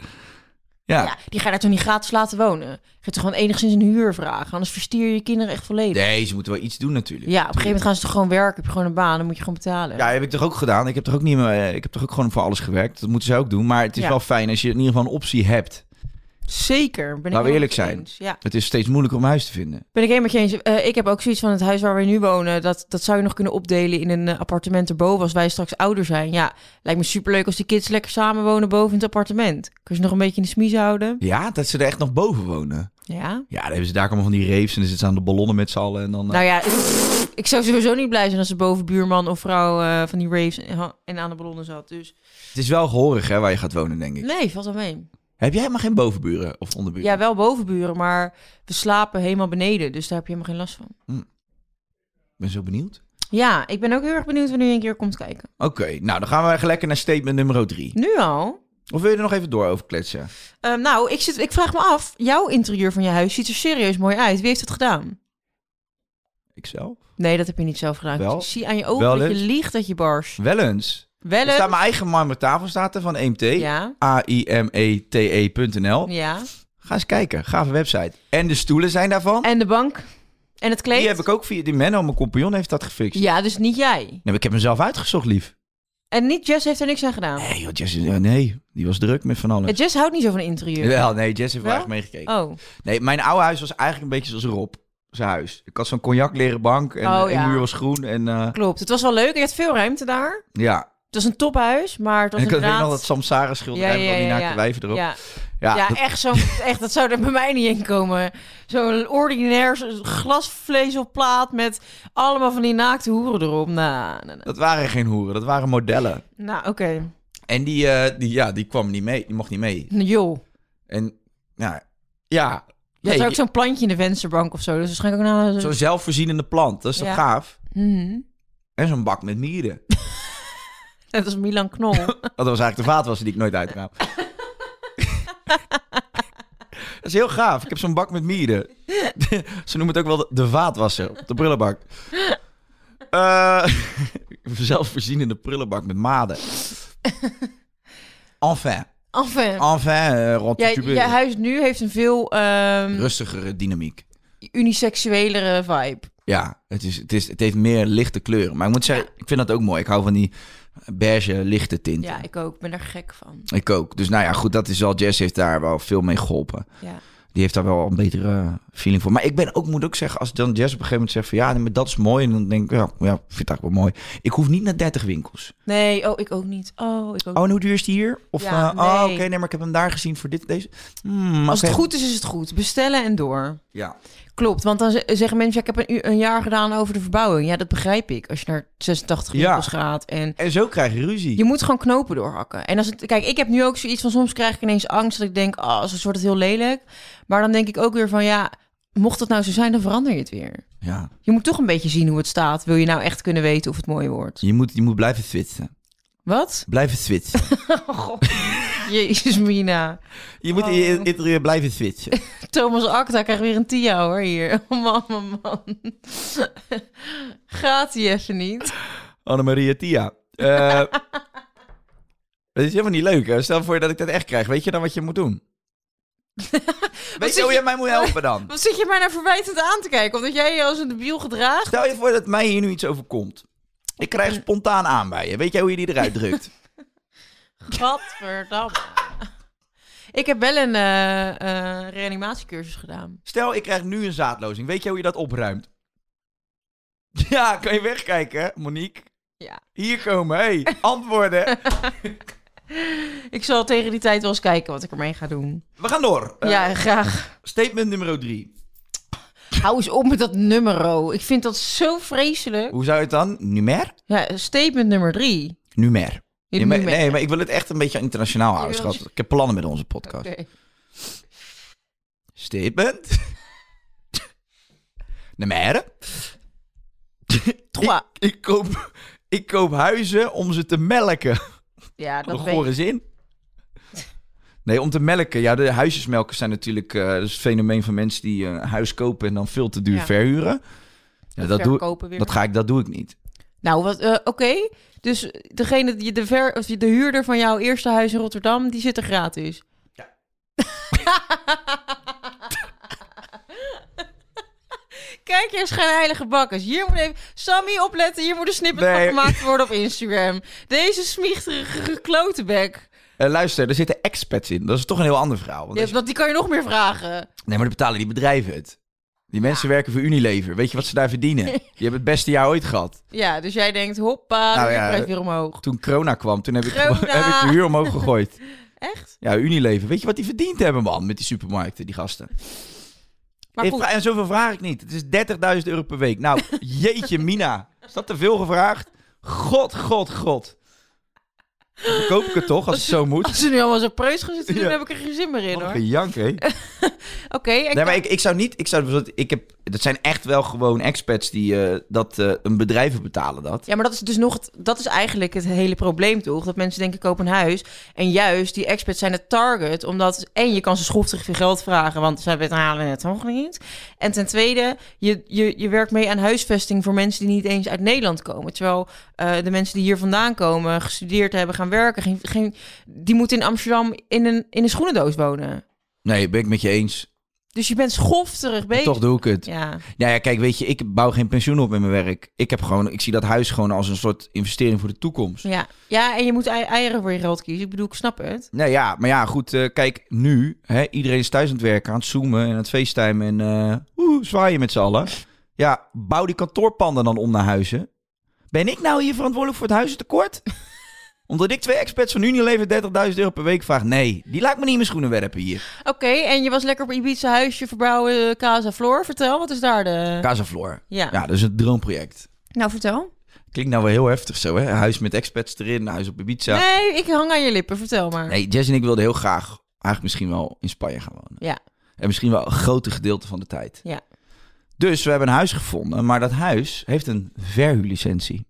Ja. ja, die ga je daar toch niet gratis laten wonen? Ga je toch gewoon enigszins een huur vragen? Anders verstier je je kinderen echt volledig. Nee, ze moeten wel iets doen natuurlijk. Ja, op een gegeven moment gaan ze toch gewoon werken. Heb je gewoon een baan, dan moet je gewoon betalen. Ja, heb ik toch ook gedaan. Ik heb toch ook niet meer. Ik heb toch ook gewoon voor alles gewerkt. Dat moeten ze ook doen. Maar het is Ja. wel fijn als je in ieder geval een optie hebt. Zeker. Ben ik Laten we helemaal eerlijk met je zijn. eens. Ja. Het is steeds moeilijker om huis te vinden. Ben ik helemaal met je eens. Eh, ik heb ook zoiets van het huis waar we nu wonen. Dat, dat zou je nog kunnen opdelen in een eh, appartement erboven als wij straks ouder zijn. Ja, lijkt me superleuk als die kids lekker samen wonen boven in het appartement. Kun je ze nog een beetje in de smiezen houden? Ja, dat ze er echt nog boven wonen. Ja. Ja, dan hebben ze daar allemaal van die reefs en dan zitten ze aan de ballonnen met z'n allen. En dan, eh, Nou ja, ik, ik zou sowieso niet blij zijn als de bovenbuurman of vrouw eh, van die raves en, en aan de ballonnen zat. Dus Het is wel horig hè, waar je gaat wonen, denk ik. nee, valt wel mee. Heb jij maar geen bovenburen of onderburen? Ja, wel bovenburen, maar we slapen helemaal beneden. Dus daar heb je helemaal geen last van. Ik ben zo benieuwd. Ja, ik ben ook heel erg benieuwd wanneer je een keer komt kijken. Oké, nou dan gaan we eigenlijk lekker naar statement nummer 3. Nu al? Of wil je er nog even door over kletsen? Ehm, nou, ik, zit, ik vraag me af, jouw interieur van je huis ziet er serieus mooi uit. Wie heeft het gedaan? Ikzelf? Nee, dat heb je niet zelf gedaan. Wel. Ik zie aan je ogen Wel dat je eens. liegt dat je barst. Wel eens. Wel Er staat eens. mijn eigen marmeren tafel staat er van E EMT. Ja. E A-I-M-E-T-E.nl. Ja. Ga eens kijken. Gave website. En de stoelen zijn daarvan. En de bank? En het kleed? Die heb ik ook via... Die Menno, mijn compagnon, heeft dat gefixt. Ja, dus niet jij. Nee, maar ik heb hem zelf uitgezocht, lief. En niet Jess heeft er niks aan gedaan. Nee, joh, Jess, is- ja, nee, die was druk met van alles. En Jess houdt niet zo van interieur. Wel, nee, Jess heeft wel Wel? echt meegekeken. Oh, Nee, mijn oude huis was eigenlijk een beetje zoals Rob. Zijn huis. Ik had zo'n cognac leren bank en Oh, eh, ja. de muur was groen. En eh, klopt. Het was wel leuk. Je had veel ruimte daar. ja, Het was een tophuis, maar het was en ik had weet inderdaad... nog dat Samsara schilderij met al die naakte wijven erop. Ja, Ja, ja, dat- echt zo. Echt, dat zou er bij mij niet in komen. Zo'n ordinair zo- glasvlees op plaat met allemaal van die naakte hoeren erop. Nou, nou, nou. dat waren geen hoeren, dat waren modellen. Nou, oké. En die, eh, die, ja, die kwam niet mee, die mocht niet mee. Nou, joh. En nou, ja, Dat Nee, is ook je- zo'n plantje in de vensterbank of zo. Dus waarschijnlijk ook nou... zo'n zelfvoorzienende plant, dat is toch Ja. gaaf? Mhm. En zo'n bak met mieren. Net als Milan Knol. Dat was eigenlijk de vaatwasser die ik nooit uitkwam. Dat is heel gaaf. Ik heb zo'n bak met mieren. Ze noemen het ook wel de, de vaatwasser op de prullenbak. Eh zelfvoorzienende prullenbak met maden. Enfin. Enfin. Enfin, eh, rond Jij, de tube. jij huis nu heeft een veel ehm Rustigere dynamiek. uniseksuelere vibe. Ja, het, is, het, is, het heeft meer lichte kleuren. Maar ik moet zeggen, ik vind dat ook mooi. Ik hou van die beige, lichte tinten. Ja, ik ook. Ik ben er gek van. Ik ook. Dus nou ja, goed, dat is wel. Jess heeft daar wel veel mee geholpen. Ja. Die heeft daar wel een betere eh, feeling voor. Maar ik ben ook, moet ook zeggen, als dan Jess op een gegeven moment zegt van ja, nee, maar dat is mooi. En dan denk ik, ja, ja, ik vind het eigenlijk wel mooi. Ik hoef niet naar 30 winkels. Nee, oh, ik ook niet. Oh, ik ook Oh, en hoe duur is die hier? Of Ja, eh, oh, nee. oké, nee, maar ik heb hem daar gezien voor dit, deze. Hmm, Als oké. het goed is, is het goed. Bestellen en door. Ja. Klopt, want dan z- zeggen mensen, ja, ik heb een, u- een jaar gedaan over de verbouwing. Ja, dat begrijp ik. Als je naar 86 Ja. winkels gaat en En zo krijg je ruzie. je moet gewoon knopen doorhakken. En als het, kijk, ik heb nu ook zoiets van, soms krijg ik ineens angst dat ik denk, ah, zo wordt het heel lelijk. Maar dan denk ik ook weer van, ja, mocht dat nou zo zijn, dan verander je het weer. Ja. Je moet toch een beetje zien hoe het staat. Wil je nou echt kunnen weten of het mooi wordt? Je moet, je moet blijven twitsen. Wat? Blijven twitsen. Jezus, Mina. Je moet in je Oh. interieur blijven twitsen. Thomas Acta krijgt weer een tia hoor hier. Oh, man, man, man. Gaat hij even niet? Annemaria Tia. Eh, dat is helemaal niet leuk. Hè? Stel voor dat ik dat echt krijg. Weet je dan wat je moet doen? Weet je zeg hoe je- jij mij moet helpen dan? Wat zit je mij nou verwijtend aan te kijken? Omdat jij je als een debiel gedraagt? Stel je voor dat mij hier nu iets overkomt. Ik krijg Mm. spontaan aan bij je. Weet jij hoe je die eruit drukt? Gadverdamme. Ik heb wel een eh, eh, reanimatiecursus gedaan. Stel, ik krijg nu een zaadlozing. Weet jij hoe je dat opruimt? Ja, kan je wegkijken, hè, Monique? Ja. Hier komen, hey, antwoorden. Ik zal tegen die tijd wel eens kijken wat ik ermee ga doen. We gaan door. Eh, ja, graag. Statement nummer drie. Hou eens op met dat numero. Ik vind dat zo vreselijk. Hoe zou je het dan? Numer? Ja, statement nummer drie. Numer. Je Nee, maar, nummer. nee, maar ik wil het echt een beetje internationaal houden, Je wilt- schat. Ik heb plannen met onze podcast. Oké. Statement. Nummer. ik, ik, koop, ik koop huizen om ze te melken. Ja, dat Dat weet ik. goor is in. Nee, om te melken. Ja, de huisjesmelkers zijn natuurlijk eh, dat is het fenomeen van mensen die eh, een huis kopen en dan veel te duur Ja. verhuren. Ja, dat, doe, Verkopen weer. dat, ga ik, dat doe ik niet. Nou, wat, eh, oké. Dus degene, die de, ver, of de huurder van jouw eerste huis in Rotterdam, die zit er gratis. Kijk, hier is geen heilige bakkers. Hier moet even... Sammy, opletten. Hier moet een snippet Nee. van gemaakt worden op Instagram. Deze smiechterige klotenbek. Eh, luister, er zitten expats in. Dat is toch een heel ander verhaal. Want Ja, als je- want die kan je nog meer vragen. Nee, maar dan betalen die bedrijven het. Die mensen werken voor Unilever. Weet je wat ze daar verdienen? Die hebben het beste jaar ooit gehad. Ja, dus jij denkt, hoppa, Nou de ja, prijs weer omhoog. Toen corona kwam, toen heb ik, Corona! heb ik de huur omhoog gegooid. Echt? Ja, Unilever. Weet je wat die verdiend hebben, man? Met die supermarkten, die gasten. Maar Ik goed, vraag- en zoveel vraag ik niet. Het is 30.000 euro per week. Nou, jeetje mina. Is dat te veel gevraagd? God, god, god. Dan verkoop ik het toch, als het zo moet. als ze nu allemaal zo preus gaan zitten, doen, Ja. heb ik er geen zin meer in, Wat hoor. een Oké, gejank, hè? en Nee, maar ik, ik zou niet... Ik zou, bijvoorbeeld- ik heb, dat zijn echt wel gewoon expats die eh, dat... eh, een bedrijven betalen dat. Ja, maar dat is dus nog het, dat is eigenlijk het hele probleem toch? Dat mensen denken koop een huis en juist die experts zijn het target omdat één je kan ze schoftig veel geld vragen, want zij betalen het toch niet. En ten tweede, je, je, je werkt mee aan huisvesting voor mensen die niet eens uit Nederland komen, terwijl eh, de mensen die hier vandaan komen, gestudeerd hebben, gaan werken, geen, geen, die moeten in Amsterdam in een in een schoenendoos wonen. Nee, ben ik met je eens. Dus je bent schofterig Maar bezig. Toch doe ik het. Ja. Nou ja, kijk, weet je, ik bouw geen pensioen op met mijn werk. Ik, heb gewoon, ik zie dat huis gewoon als een soort investering voor de toekomst. Ja. ja, en je moet ei- eieren voor je geld kiezen. Ik bedoel, ik snap het. Nou ja, maar ja, goed, eh, kijk, nu, hè, iedereen is thuis aan het werken, aan het zoomen en aan het facetimen en eh oeh, zwaaien met z'n allen. Ja, bouw die kantoorpanden dan om naar huizen. Ben ik nou hier verantwoordelijk voor het huizentekort? Omdat ik twee expats van Unilever 30.000 euro per week vraag. Nee, die laat ik me niet in mijn schoenen werpen hier. Oké, en je was lekker op Ibiza huisje verbouwen, eh, Casa Floor. Vertel, wat is daar de... Casaflor. Ja. Ja, dat is een droomproject. Nou, vertel. Klinkt nou wel heel heftig zo, hè? Huis met expats erin, huis op Ibiza. Nee, ik hang aan je lippen. Vertel maar. Nee, Jess en ik wilden heel graag eigenlijk misschien wel in Spanje gaan wonen. Ja, En misschien wel een grote gedeelte van de tijd. ja. Dus we hebben een huis gevonden, maar dat huis heeft een verhuurlicentie.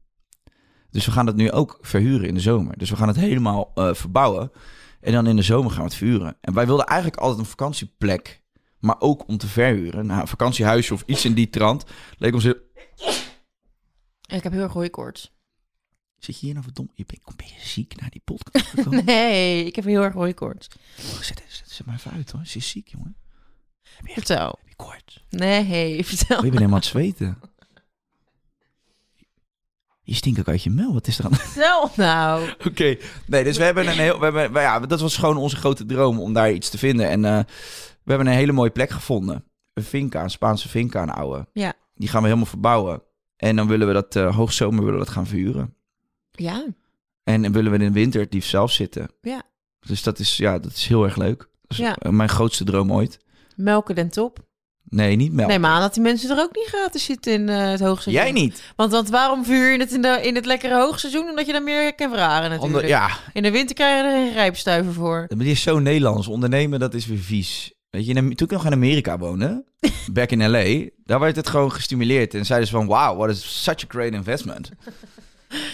Dus we gaan dat nu ook verhuren in de zomer. Dus we gaan het helemaal eh, verbouwen. En dan in de zomer gaan we het verhuren. En wij wilden eigenlijk altijd een vakantieplek, maar ook om te verhuren. Nou, een vakantiehuisje of iets in die trant. Leek ons heel... Ik heb heel erg hooikoorts. Zit je hier nou verdomd? Je bent een beetje ziek naar die podcast gekomen. Nee, ik heb heel erg hooikoorts. Oh, zet, zet, zet maar even uit hoor. Ze is ziek, jongen. Vertel. Heb je koorts? Nee, vertel. Oh, je bent helemaal aan het zweten. Je stinkt ook uit je mel. Wat is er aan? Oké. Vertel nou. Nee, dus we hebben een heel... We hebben, we- ja, dat was gewoon onze grote droom om daar iets te vinden. En eh, we hebben een hele mooie plek gevonden. Een finca, een Spaanse finca, een oude. Ja. Die gaan we helemaal verbouwen. En dan willen we dat eh, hoogzomer willen we dat gaan verhuren. Ja, En dan willen we in de winter het liefst zelf zitten. Ja. Dus dat is, ja, dat is heel erg leuk. Dat is Ja. eh, mijn grootste droom ooit. melken den top. Nee, niet mel. Nee, maar aan dat die mensen er ook niet gratis zitten in eh, het hoogseizoen. Jij niet. Want, want waarom vuur je het in, de, in het lekkere hoogseizoen? Omdat je dan meer kan vragen natuurlijk. Onder, ja, In de winter krijg je er geen rijpstuiver voor. Maar die is zo Nederlands. Ondernemen, dat is weer vies. Weet je, in Am- toen ik nog in Amerika woonde, back in L.A., daar werd het gewoon gestimuleerd. En zeiden ze van, wow, what is such a great investment.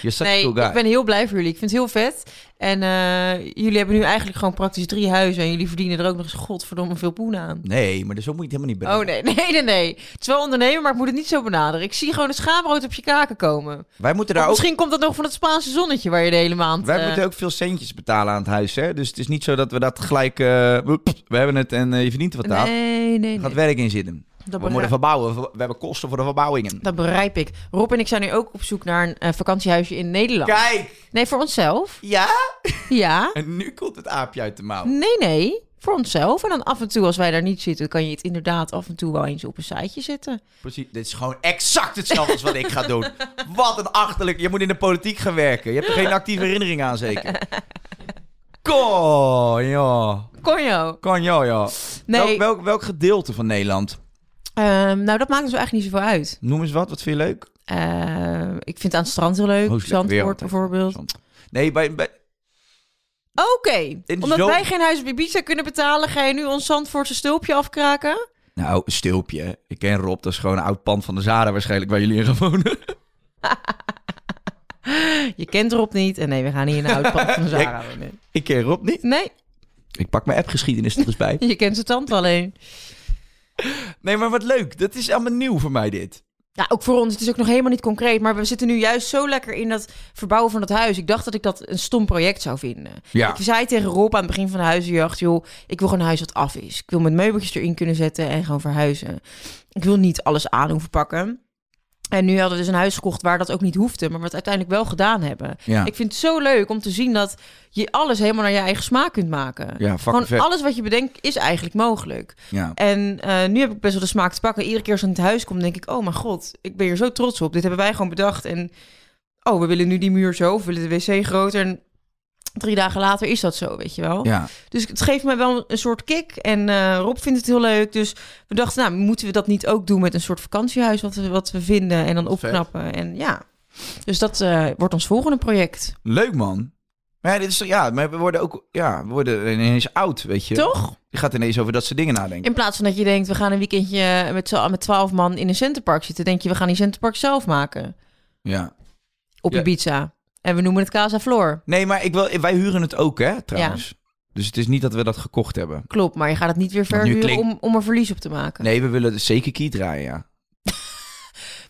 You're such a nee, cool guy. ik ben heel blij voor jullie. Ik vind het heel vet. En eh, jullie hebben nu eigenlijk gewoon praktisch drie huizen. En jullie verdienen er ook nog eens godverdomme veel poen aan. Nee, maar dus ook moet je het helemaal niet Oh brengen. nee, nee, nee, nee. Het is wel ondernemen, maar ik moet het niet zo benaderen. Ik zie gewoon een schaamrood op je kaken komen. Wij moeten Of daar ook... Oh, misschien komt dat nog van het Spaanse zonnetje waar je de hele maand... Wij eh, moeten ook veel centjes betalen aan het huis, hè? Dus het is niet zo dat we dat gelijk... eh, we we hebben het en eh, je verdient er wat aan. Nee, nee, Er gaat nee. werk in zitten. Dat we moeten begrijp, verbouwen. We hebben kosten voor de verbouwingen. dat begrijp ik. Rob en ik zijn nu ook op zoek naar een eh, vakantiehuisje in Nederland. Kijk! Nee, voor onszelf. Ja? Ja. En nu komt het aapje uit de mouw. Nee, nee. Voor onszelf. En dan af en toe, als wij daar niet zitten, kan je het inderdaad af en toe wel eens op een siteje zetten. Precies, dit is gewoon exact hetzelfde als wat ik ga doen. Wat een achterlijk. Je moet in de politiek gaan werken. Je hebt er geen actieve herinnering aan, zeker. Konjo. Conjo. Konjo, ja. Nee. Welk, welk, welk gedeelte van Nederland? Ehm, nou, dat maakt dus eigenlijk niet zoveel uit. Noem eens wat, wat vind je leuk? Ehm, ik vind aan het strand heel leuk. Oh, is lekker weer Zandvoort altijd. bijvoorbeeld. Oké. Zand. Nee, bij, bij, de Omdat zomer- wij geen huis op Ibiza kunnen betalen, ga je nu ons Zandvoortse stulpje afkraken? nou, een stilpje. hè. Ik ken Rob, dat is gewoon een oud pand van de Zara waarschijnlijk waar jullie in gaan wonen. Je kent Rob niet. En nee, we gaan niet in een oud pand van Zara. wonen. Ik ken Rob niet. Nee, Ik pak mijn appgeschiedenis er eens bij. je kent zijn tante alleen. Nee, maar wat leuk. Dat is allemaal nieuw voor mij, dit. Ja, ook voor ons. Het is ook nog helemaal niet concreet. Maar we zitten nu juist zo lekker in dat verbouwen van dat huis. Ik dacht dat ik dat een stom project zou vinden. Ja. Ik zei tegen Rob aan het begin van de huizenjacht... joh, ik wil gewoon een huis dat af is. Ik wil mijn meubeltjes erin kunnen zetten en gewoon verhuizen. Ik wil niet alles aan hoeven pakken. En nu hadden we dus een huis gekocht waar dat ook niet hoefde, maar wat uiteindelijk wel gedaan hebben. Ja. Ik vind het zo leuk om te zien dat je alles helemaal naar je eigen smaak kunt maken. Ja, fucking Gewoon vet. alles wat je bedenkt is eigenlijk mogelijk. Ja. En eh, nu heb ik best wel de smaak te pakken. Iedere keer als ik in het huis kom, denk ik: Oh mijn god, ik ben hier zo trots op. Dit hebben wij gewoon bedacht. En oh, we willen nu die muur zo, of we willen de wc groter. En drie dagen later is dat zo, weet je wel. ja. Dus het geeft mij wel een soort kick. En eh, Rob vindt het heel leuk. Dus we dachten, nou, moeten we dat niet ook doen met een soort vakantiehuis wat we, wat we vinden en dan opknappen. En ja, dus dat eh, wordt ons volgende project. Leuk man. Maar ja, dit is, toch- ja, maar we worden ook ja, we worden ineens oud, weet je. Toch? Je gaat ineens over dat soort dingen nadenken. In plaats van dat je denkt, we gaan een weekendje met, z'n- met 12 man in een centerpark zitten, denk je, we gaan die centerpark zelf maken. Ja. Op Ja. Ibiza. En we noemen het Casa Flor. Nee, maar ik wil, wij huren het ook, hè, trouwens. Dus het is niet dat we dat gekocht hebben. Klopt, maar je gaat het niet weer Want nu verhuren klinkt- om, om er verlies op te maken. Nee, we willen het zeker key draaien, ja.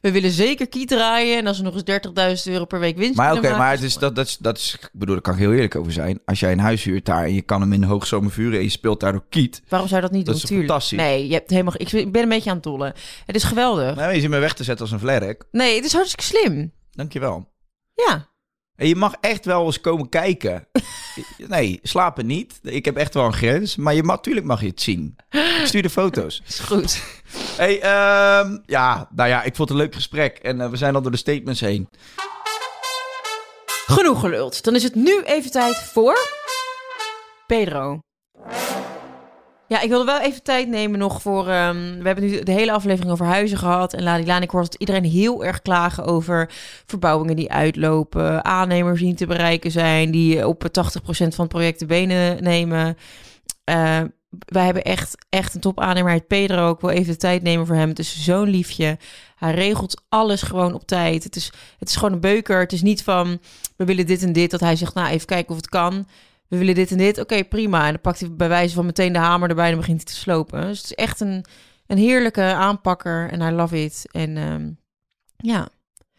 We willen zeker kiet draaien en als we nog eens 30.000 euro per week winst Maar oké, kunnen maken, maar het is, dat, dat, is, dat is... Ik bedoel, daar kan ik heel eerlijk over zijn. Als jij een huis huurt daar en je kan hem in de hoogzomer vuren en je speelt daardoor kiet. Waarom zou je dat niet Dat doen? is Tuurlijk. fantastisch. Nee, je hebt helemaal. Ik ben een beetje aan het dollen. Het is geweldig. Nou, je zit me weg te zetten als een vlerk. Nee, het is hartstikke slim. Dankjewel. Ja. En je mag echt wel eens komen kijken. Nee, slapen niet. Ik heb echt wel een grens. Maar je mag, tuurlijk mag je het zien. Ik stuur de foto's. Is goed. Hey, ehm, ja, nou ja, ik vond het een leuk gesprek. En eh, we zijn al door de statements heen. Genoeg geluld. Dan is het nu even tijd voor. Pedro. Ja, ik wilde wel even tijd nemen nog voor. ehm, we hebben nu de hele aflevering over huizen gehad. En Ladilaan, ik hoor dat iedereen heel erg klagen over verbouwingen die uitlopen. Aannemers die niet te bereiken zijn. Die op 80% van het project de benen nemen. Eh, wij hebben echt, echt een top aannemer. Hij heet Pedro. Ik wil even de tijd nemen voor hem. Het is zo'n liefje. Hij regelt alles gewoon op tijd. Het is, het is gewoon een beuker. Het is niet van, we willen dit en dit. Dat hij zegt, nou, even kijken of het kan. We willen dit en dit. Oké, prima. En dan pakt hij bij wijze van meteen de hamer erbij en dan begint hij te slopen. Dus het is echt een, een heerlijke aanpakker. En I love it. En ehm, ja...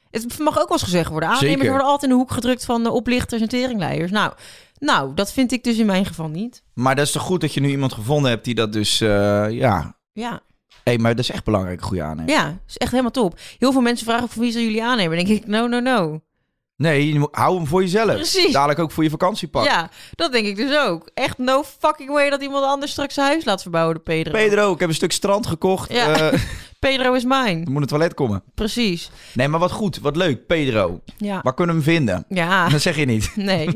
Het mag ook wel eens gezegd worden. Aannemers Zeker. worden altijd in de hoek gedrukt van de oplichters en teringleiers. Nou, nou, dat vind ik dus in mijn geval niet. Maar dat is toch goed dat je nu iemand gevonden hebt die dat dus, eh, ja. Ja, hey, maar dat is echt belangrijk, een goede aannemer. Ja, is echt helemaal top. Heel veel mensen vragen ook voor wie zullen jullie aannemen. Dan denk ik, no, no, no. Nee, je moet- hou hem voor jezelf. Precies. Dadelijk ook voor je vakantiepak. Ja, dat denk ik dus ook. Echt no fucking way dat iemand anders straks zijn huis laat verbouwen door Pedro. Pedro, ik heb een stuk strand gekocht. Ja. Eh, Pedro is er mijn. moet een toilet komen. Precies. Nee, maar wat goed, wat leuk, Pedro. Ja. Waar kunnen we hem vinden? Ja, Dat zeg je niet. nee.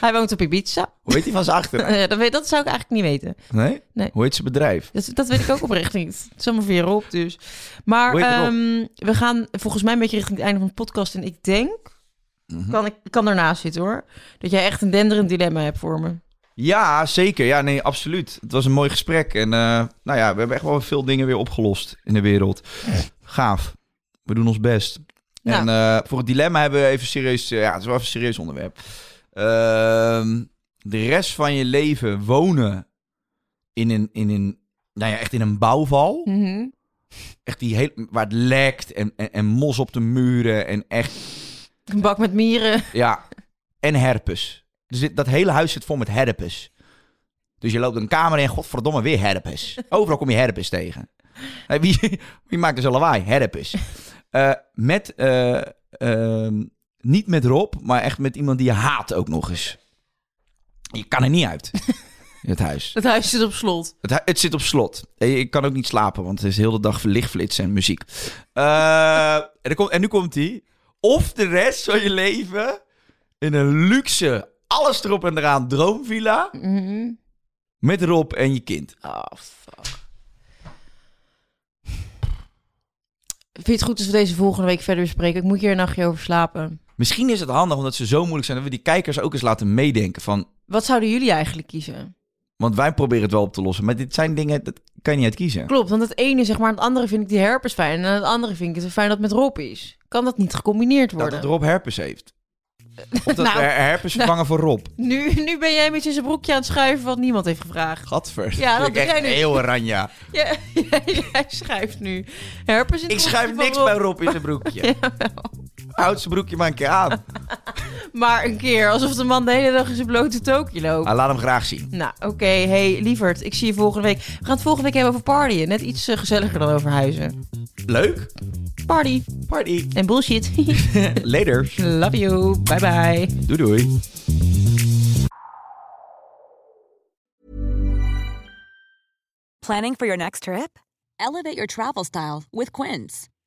Hij woont op Ibiza. Hoe heet hij van zijn achter? Eh, dat, weet, dat zou ik eigenlijk niet weten. Nee? Nee. Hoe heet zijn bedrijf? Dat, dat weet ik ook oprecht niet. Het is allemaal weer op, dus. Maar Hoe heet het op? ehm, we gaan volgens mij een beetje richting het einde van de podcast. En ik denk, Hm? kan, ik ik kan ernaast zitten hoor, dat jij echt een denderend dilemma hebt voor me. Ja, zeker. Ja, nee, absoluut. Het was een mooi gesprek. En eh, nou ja, we hebben echt wel veel dingen weer opgelost in de wereld. Gaaf. We doen ons best. Nou. En eh, voor het dilemma hebben we even serieus... eh, ja, het is wel even een serieus onderwerp. Ehm, de rest van je leven wonen in een... In een nou ja, echt in een bouwval. Mhm. Echt die heel, waar het lekt en, en, en mos op de muren en echt... Een bak met mieren. Ja, en herpes. Dus dit, dat hele huis zit vol met herpes. Dus je loopt een kamer in, godverdomme, weer herpes. Overal kom je herpes tegen. Hé, wie, wie maakt dus een lawaai? Herpes. Eh, met, eh, ehm, niet met Rob, maar echt met iemand die je haat ook nog eens. Je kan er niet uit, het huis. Het huis zit op slot. Het, hu- het zit op slot. En je- Ik kan ook niet slapen, want het is heel de dag lichtflits en muziek. Eh, en, er komt- en nu komt die. Of de rest van je leven in een luxe, alles erop en eraan droomvilla. Mhm. Met Rob en je kind. Ah, fuck. Vind je het goed als we deze volgende week verder bespreken? Ik moet hier een nachtje over slapen. Misschien is het handig, omdat ze zo moeilijk zijn, dat we die kijkers ook eens laten meedenken. Van, Wat zouden jullie eigenlijk kiezen? want wij proberen het wel op te lossen. Maar dit zijn dingen, dat kan je niet uit kiezen. Klopt, want het ene zeg maar, het andere vind ik die herpes fijn. En het andere vind ik het fijn dat het met Rob is. Kan dat niet gecombineerd Dat worden? het Rob herpes heeft. Of dat Nou, we her- herpes vervangen voor Rob. nu, nu ben jij met je zijn broekje aan het schuiven wat niemand heeft gevraagd. Gadver. Ja, dat vind ik doe echt jij nu. heel oranje. Ja, jij schrijft nu. Herpes in het Ik schuif broekje niks van bij Rob in zijn broekje. Houd zijn broekje maar een keer aan. Maar een keer, alsof de man de hele dag in zijn blote toekje loopt. Ah, laat hem graag zien. Nou, oké. Hey, lieverd, ik zie je volgende week. We gaan het volgende week hebben over partyen. Net iets eh, gezelliger dan over huizen. Leuk. Party. Party. En bullshit. Later. Love you. Bye bye. Doei doei. Planning for your next trip? Elevate your travel style with Quince.